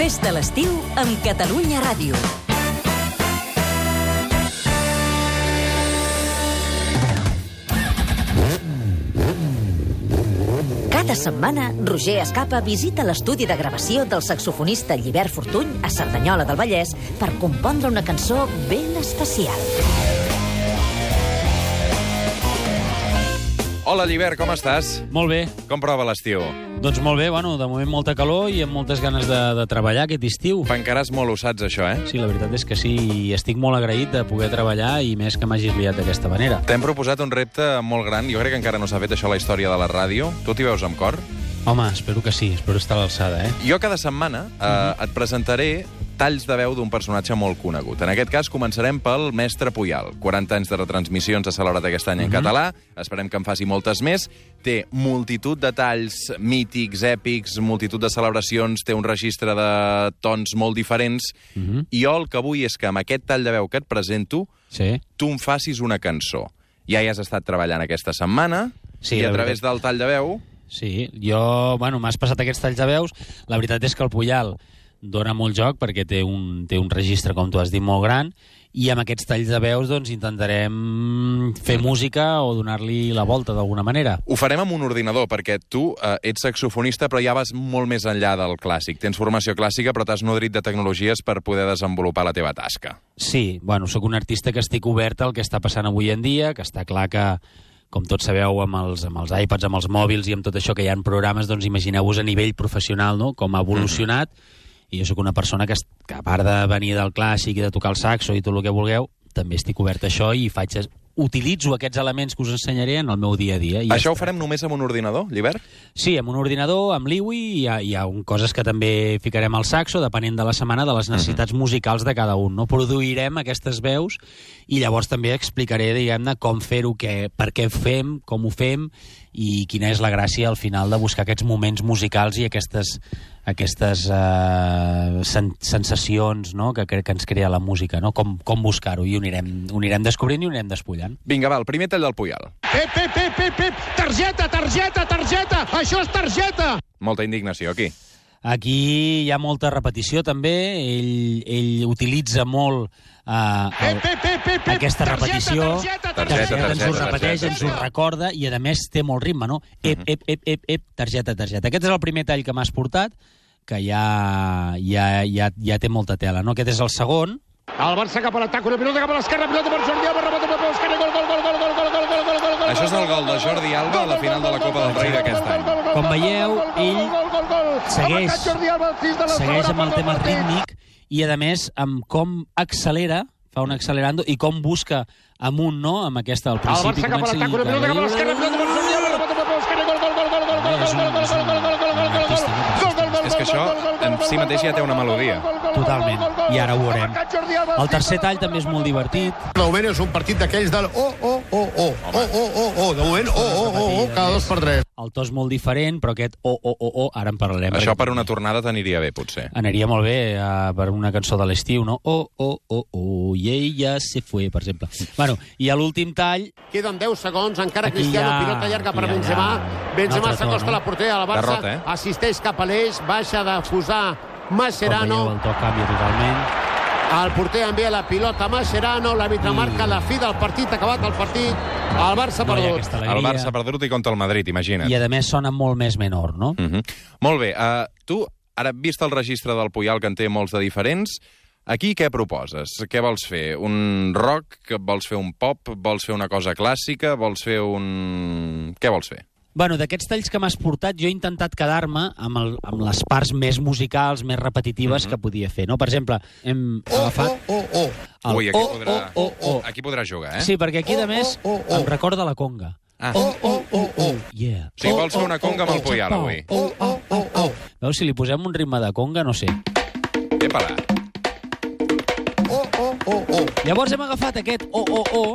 Festa l'estiu amb Catalunya Ràdio. Cada setmana, Roger Escapa visita l'estudi de gravació del saxofonista Llibert Fortuny a Cerdanyola del Vallès per compondre una cançó ben especial. Hola, Llibert, com estàs? Molt bé, Com prova l'estiu? doncs molt bé, bueno, de moment molta calor i amb moltes ganes de, de treballar aquest estiu. Pencaràs molt usats, això, eh? Sí, la veritat és que sí, i estic molt agraït de poder treballar i més que m'hagis liat d'aquesta manera. T'hem proposat un repte molt gran. Jo crec que encara no s'ha fet això a la història de la ràdio. Tu t'hi veus amb cor? Home, espero que sí, espero estar a l'alçada, eh? Jo cada setmana eh, et presentaré talls de veu d'un personatge molt conegut. En aquest cas, començarem pel mestre Puyal. 40 anys de retransmissions ha celebrat aquest any en català. Esperem que en faci moltes més. Té multitud de talls mítics, èpics, multitud de celebracions, té un registre de tons molt diferents. Mhm, I jo el que vull és que amb aquest tall de veu que et presento Sí. tu em facis una cançó. Ja hi has estat treballant aquesta setmana, sí, Sí, i a la través del tall de veu... Sí, jo, bueno, m'has passat aquests talls de veus. La veritat és que el Puyal dona molt joc perquè té un, té un registre, com tu has dit, molt gran i amb aquests talls de veus doncs, intentarem fer música o donar-li la volta d'alguna manera. Ho farem amb un ordinador, perquè tu eh, ets saxofonista, però ja vas molt més enllà del clàssic. Tens formació clàssica, però t'has nodrit de tecnologies per poder desenvolupar la teva tasca. Sí, bueno, sóc un artista que estic obert al que està passant avui en dia, que està clar que, com tots sabeu, amb els, amb els iPads, amb els mòbils i amb tot això que hi ha en programes, doncs imagineu-vos a nivell professional no? com ha evolucionat. I jo sóc una persona que, es- que, a part de venir del clàssic i de tocar el saxo i tot el que vulgueu, també estic obert a això i faig utilitzo aquests elements que us ensenyaré en el meu dia a dia. I ja Ja Això ho està. farem només amb un ordinador, Llibert? Sí, amb un ordinador, amb l'iwi, hi ha, hi ha un, coses que també ficarem al saxo, depenent de la setmana, de les necessitats musicals de cada un. No produirem aquestes veus i llavors també explicaré, diguem-ne, com fer-ho, què- per què fem, com ho fem i quina és la gràcia al final de buscar aquests moments musicals i aquestes, aquestes uh, sen sensacions no? que, crec que ens crea la música, no? com, com buscar-ho i ho anirem, ho anirem descobrint i ho anirem despullant. Vinga, va, el primer tall del Puyal. Pep, pep, pep, pep, pep, targeta, targeta, targeta, això és targeta. Molta indignació, aquí. Aquí hi ha molta repetició, també. Ell, ell utilitza molt eh, el, Pep, pep, pep, pep, pep, aquesta targeta, repetició targeta, que Mhm. Targeta, ens ho targeta, repeteix, ens ho targeta. recorda i, a més, té molt ritme, no? Ep, ep, ep, ep, ep, targeta, targeta. Aquest és el primer tall que m'has portat, que ja, ja, ja, ja té molta tela, no? Aquest és el segon. El Barça cap a l'atac, una pilota cap a l'esquerra, pilota per Jordi Alba, rebota per l'esquerra, gol, gol, gol, gol, gol, gol, gol, gol, gol, gol, gol. Això és el gol de Jordi Alba a la final de la Copa del Rei d'aquest any. Com veieu, ell segueix- Segueix amb el tema rítmic i, a més, amb com accelera fa un accelerando i com busca amunt, no?, amb aquesta, al El principi Barça cap a comença i... l'atac, una pilota cap a l'esquerra, pilota per Jordi Alba, rebota per l'esquerra, gol, gol, gol, gol, gol, gol, gol, gol, gol, gol, gol, gol, gol, gol, gol, gol, gol, És que això en si mateix ja té una melodia. Totalment. I ara ho veurem. El tercer tall també és molt divertit. De moment és un partit d'aquells del oh, oh, oh, oh, oh, oh, oh, oh, de moment oh, oh, oh, oh, cada dos per tres. El to és molt diferent, però aquest o, o, o, o, ara en parlarem. Això perquè per una tornada t'aniria bé, potser. Aniria molt bé uh, per una cançó de l'estiu, no? Oh, oh, oh, oh, i ella se fue, per exemple. Bueno, i a l'últim tall... Queden 10 segons, encara Aquí Cristiano, hi ha- pilota llarga per hi ha- Benzema. hi ha- un Benzema altre s'acosta to, no? a la portera del Barça, Derrota, eh? assisteix cap a l'eix, baixa de posar Com Mascherano, veieu, el to canvia totalment. el porter envia la pilota a Mascherano, l'àrbitre marca la fi del partit, acabat el partit, el Barça No hi ha perdut. aquesta alegria. El Barça perdut i contra el Madrid, imagina't. eh, I a més sona molt més menor, no? Mm -hmm. Molt bé, uh, tu, ara, vist el registre del Puyal, que en té molts de diferents, aquí què proposes? Què vols fer? Un rock? Que Vols fer un pop? Vols fer una cosa clàssica? Vols fer un... Què vols fer? Bueno, d'aquests talls que m'has portat, jo he intentat quedar-me amb, el, amb les parts més musicals, més repetitives Mm-hmm. que podia fer, no? Per exemple, hem agafat... Oh, oh, oh, oh. el Ui, aquí, oh, podrà... oh, oh, oh. aquí podrà jugar, eh? Sí, perquè aquí, a més, oh, oh, oh. em recorda la conga. Ah. Oh, oh, oh, oh, yeah. O sigui, vols fer una conga amb el Puyal, avui. Oh, oh, oh, oh. Veus, si li posem un ritme de conga, no sé. Epa, Oh, oh, oh, oh. Llavors hem agafat aquest oh, oh, oh,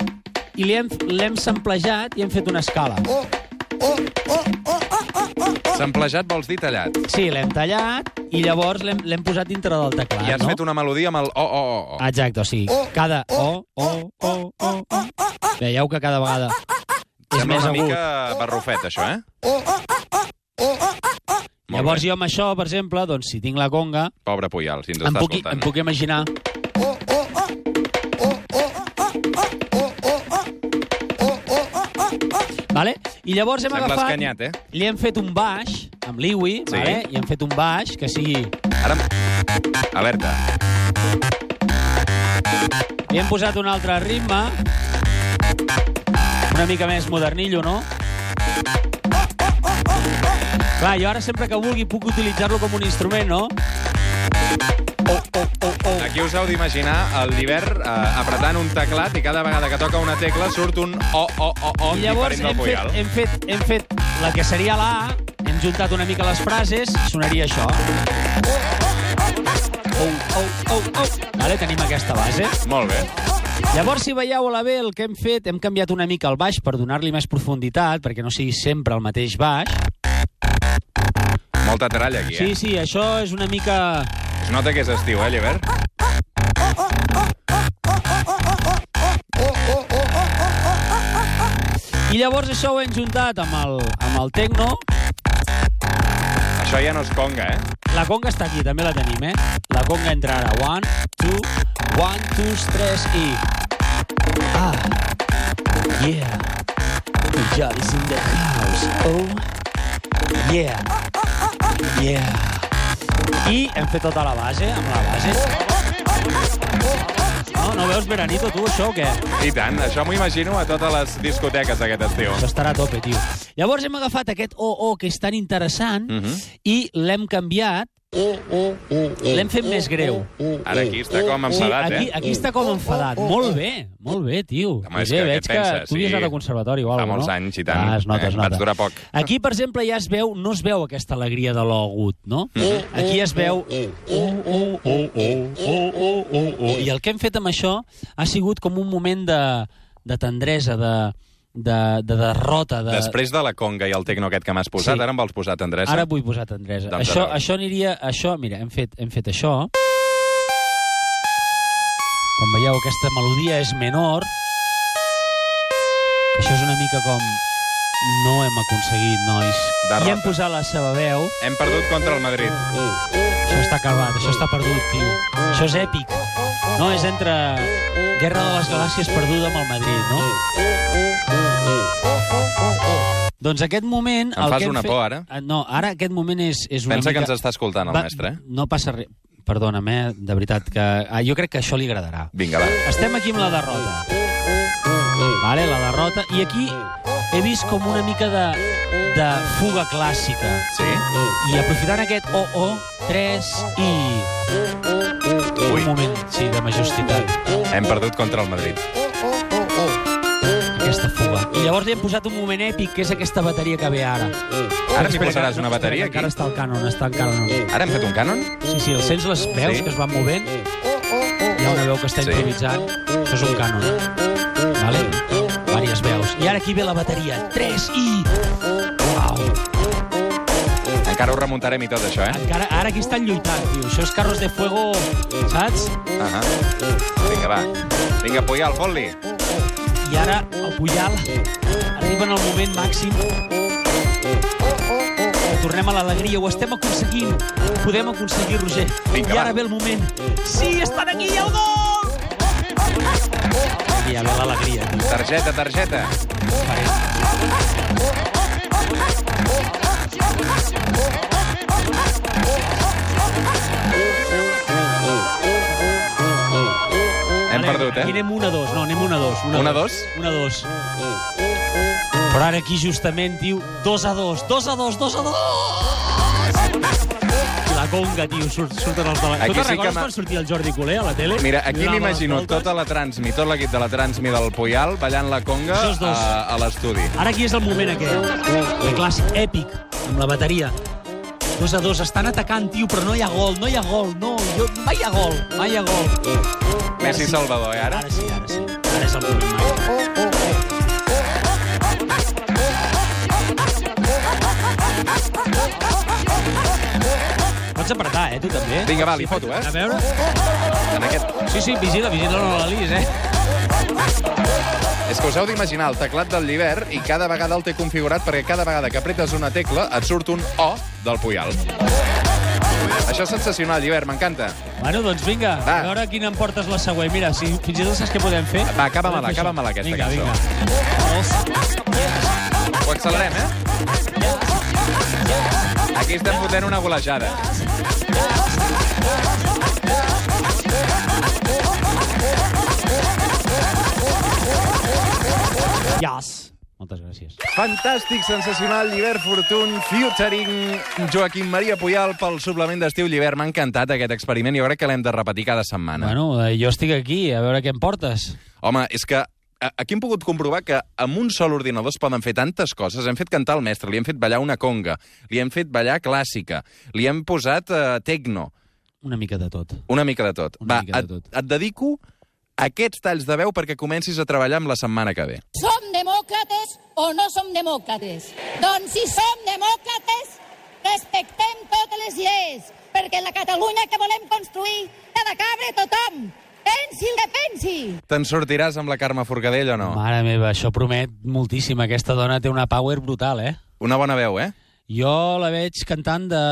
i li hem- l'hem samplejat i hem fet una escala. Oh. samplejat vols dir tallat. Sí, l'hem tallat i llavors l'hem l'hem posat dintre del teclat, I has Ah, no? Ah, fet una melodia amb el oh, oh, oh. oh. Exacte, o sigui, cada oh, o, o, o, o, o. Veieu que cada vegada és Sembla més oh, una agut. mica barrufet, això, eh? Molt Llavors bé. jo amb això, per exemple, doncs, si tinc la conga, Pobre Puyal, si ens em està puc, escoltant. em puc imaginar... Vale? I llavors hem Sembla agafat... escanyat, eh? Li hem fet un baix, amb l'iwi, Sí. vale? i hem fet un baix que sigui... Ara... Alerta. Li hem posat un altre ritme, una mica més modernillo, no? Clar, jo ara sempre que vulgui puc utilitzar-lo com un instrument, no? Oh, oh, oh, oh. Aquí us heu d'imaginar el Llibert eh, apretant un teclat i cada vegada que toca una tecla surt un o, o, o, o I Doncs llavors diferent hem del fet, Puyal. hem, fet, hem fet la que seria la A, hem juntat una mica les frases, sonaria això. Oh, oh, oh, oh. Vale, tenim aquesta base. Molt bé. Llavors, si veieu a la B el que hem fet, hem canviat una mica el baix per donar-li més profunditat, perquè no sigui sempre el mateix baix. Molta tralla aquí, eh? Sí, sí, això és una mica... Es nota que és estiu, eh, Llibert? I llavors això ho hem juntat amb el, amb el tecno. Això ja no és conga, eh? La conga està aquí, també la tenim, eh? La conga entra ara. One, two, one, two, tres i... Ah, yeah. God is in the house. Oh, yeah. Yeah. I hem fet tota la base, amb la base. No, no veus veranito, tu, això o què? I tant, això m'ho imagino a totes les discoteques aquest estiu. Això estarà a tope, tio. Llavors hem agafat aquest OO que és tan interessant Mhm. i l'hem canviat, l'hem fet més greu. Ara aquí està com Sí, enfadat, Oh, aquí, eh? aquí està com enfadat. Molt bé, molt bé, tio. Home, és Roger, que què veig et que penses? tu havies Sí. anat al conservatori o Fa alguna molts no? anys i tant. Ah, es nota, es Eh, nota. vaig durar poc. Aquí, per exemple, ja es veu, no es veu aquesta alegria de l'ogut, no? Mm-hmm. Eh, Aquí es veu... I el que hem fet amb això ha sigut com un moment de, de tendresa, de, de, de derrota, de, Després de la conga i el tecno aquest que m'has posat, Sí. ara em vols posar tendresa? Ara vull posar tendresa. Doncs això, ara. això aniria... Això, mira, hem fet, hem fet això. Com veieu, aquesta melodia és menor. Això és una mica com... No hem aconseguit, nois. Derrota. I hem posat la seva veu. Hem perdut contra el Madrid. Oh, Això està acabat, això està perdut, tio. Això és èpic. No, és entre Guerra de les Galàxies perduda amb el Madrid, no? Doncs aquest moment... Em el fas que hem una fet- por, ara? Ah, No, ara aquest moment és, és una Pensa mica... que ens està escoltant el mestre, eh? No passa res. Perdona'm, eh? De veritat, que ah, jo crec que això li agradarà. Vinga, va. Estem aquí amb la derrota. Vale, la derrota. I aquí he vist com una mica de, de fuga clàssica. Sí? I aprofitant aquest OO, 3 i... Ui. Un moment, sí, de majestitat. Hem perdut contra el Madrid. Aquesta fuga. I llavors li hem posat un moment èpic, que és aquesta bateria que ve ara. Ara m'hi Espera, posaràs que- una bateria, aquí? espera, que Encara està el cànon, està el cànon. Ara hem fet un cànon? Sí, sí, el sents les veus Sí. sí. que es van movent? Hi ha una veu que està Sí. improvisant. Això és un cànon. eh? Vale? Vàries veus. I ara aquí ve la bateria. 3 i... Uau! Encara ho remuntarem i tot això, eh? Encara, ara aquí estan lluitant, tio. Això és Carros de Fuego, saps? Ahà. Vinga, va. Vinga, Puyal, fot-li. I ara el Puyal arriba en el moment màxim. Tornem a l'alegria, ho estem aconseguint. Podem aconseguir, Roger. Vinga, I ara va. ve el moment. Sí, estan aquí, el gol! I ara ve l'alegria, tio. Targeta, targeta. Hem perdut, Aquí eh? anem 1 a 2, no, anem 1 a 2. Una, dos? 1 a 2. Però ara aquí justament, tio, 2 a 2, 2 a 2, 2 a 2. I la conga, tio, surt, surten els de la... Aquí sí Aquí tu te'n que recordes m'ha- quan sortia el Jordi Culer a la tele? Mira, aquí Donava m'imagino les voltes. tota la transmi, tot l'equip de la transmi del Puyal ballant la conga Dos, dos. a, a l'estudi. Ara aquí és el moment aquest. El clàssic èpic, amb la bateria. 2 a 2, estan atacant, tio, però no hi ha gol, no hi ha gol, no, jo, mai hi ha gol, mai hi ha gol. Messi Salvador, eh, ara? Ara sí, ara sí. Ara és el moment màgic. Pots apretar, eh, tu també? Vinga, va, li Sí, foto, eh? A veure... En aquest... Sí, sí, vigila, vigila, no la lis, eh? És que us heu d'imaginar el teclat del llibert i cada vegada el té configurat perquè cada vegada que apretes una tecla et surt un O del Puyal. Això és sensacional, llibert, m'encanta. Bueno, doncs vinga, Va. a veure quina em portes la següent. Mira, si fins i tot saps què podem fer... Va, acaba-me-la, podem fer això. acaba-me-la, aquesta vinga, cançó. Vinga, Ho accelerem, eh? Aquí estem fotent una golejada. Yes. Moltes gràcies. Fantàstic, sensacional, Llibert Fortuny, featuring Joaquim Maria Puyal pel suplement d'estiu Llibert. M'ha encantat aquest experiment i jo crec que l'hem de repetir cada setmana. Bueno, eh, jo estic aquí, a veure què em portes. Home, és que a- aquí hem pogut comprovar que amb un sol ordinador es poden fer tantes coses. Hem fet cantar el mestre, li hem fet ballar una conga, li hem fet ballar clàssica, li hem posat eh, tecno, Una mica de tot. una mica de tot. Una Va, mica de et, tot. et dedico aquests talls de veu perquè comencis a treballar amb la setmana que ve. Som demòcrates o no som demòcrates? Doncs si som demòcrates, respectem totes les lleis, perquè la Catalunya que volem construir ha de cabre tothom, pensi el que pensi. Te'n sortiràs amb la Carme Forcadell o no? Mare meva, això promet moltíssim. Aquesta dona té una power brutal, eh? Una bona veu, eh? Jo la veig cantant de...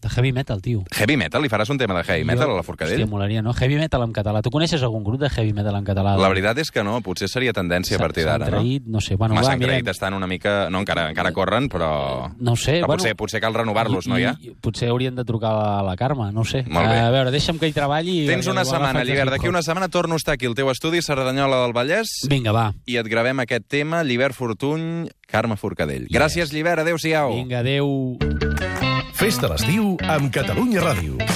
de heavy metal, tio. Heavy metal, li faràs un tema de heavy metal a la Forcadell? Hòstia, molaria, no? Heavy metal en català. Tu coneixes algun grup de heavy metal en català? La veritat és que no, potser seria tendència a partir d'ara, no? no? no sé. Bueno, Home, va, s'han mira, creït, estan una mica... No, encara, encara corren, però... No ho sé, Però bueno. potser, potser cal renovar-los, no, ja? I- i Potser haurien de trucar a la Carme, no ho sé. Molt bé. A veure, deixa'm que hi treballi... i- Tens una igual la setmana, faig de Llibert. D'aquí hip-hop. una setmana torno a estar aquí al teu estudi, Cerdanyola del Vallès, Vinga, va. i et gravem aquest tema, Llibert Fortuny, Carme Forcadell. Oh. Gràcies, Llibert. Adéu-siau. Vinga, adéu. Festa l'estiu amb Catalunya Ràdio.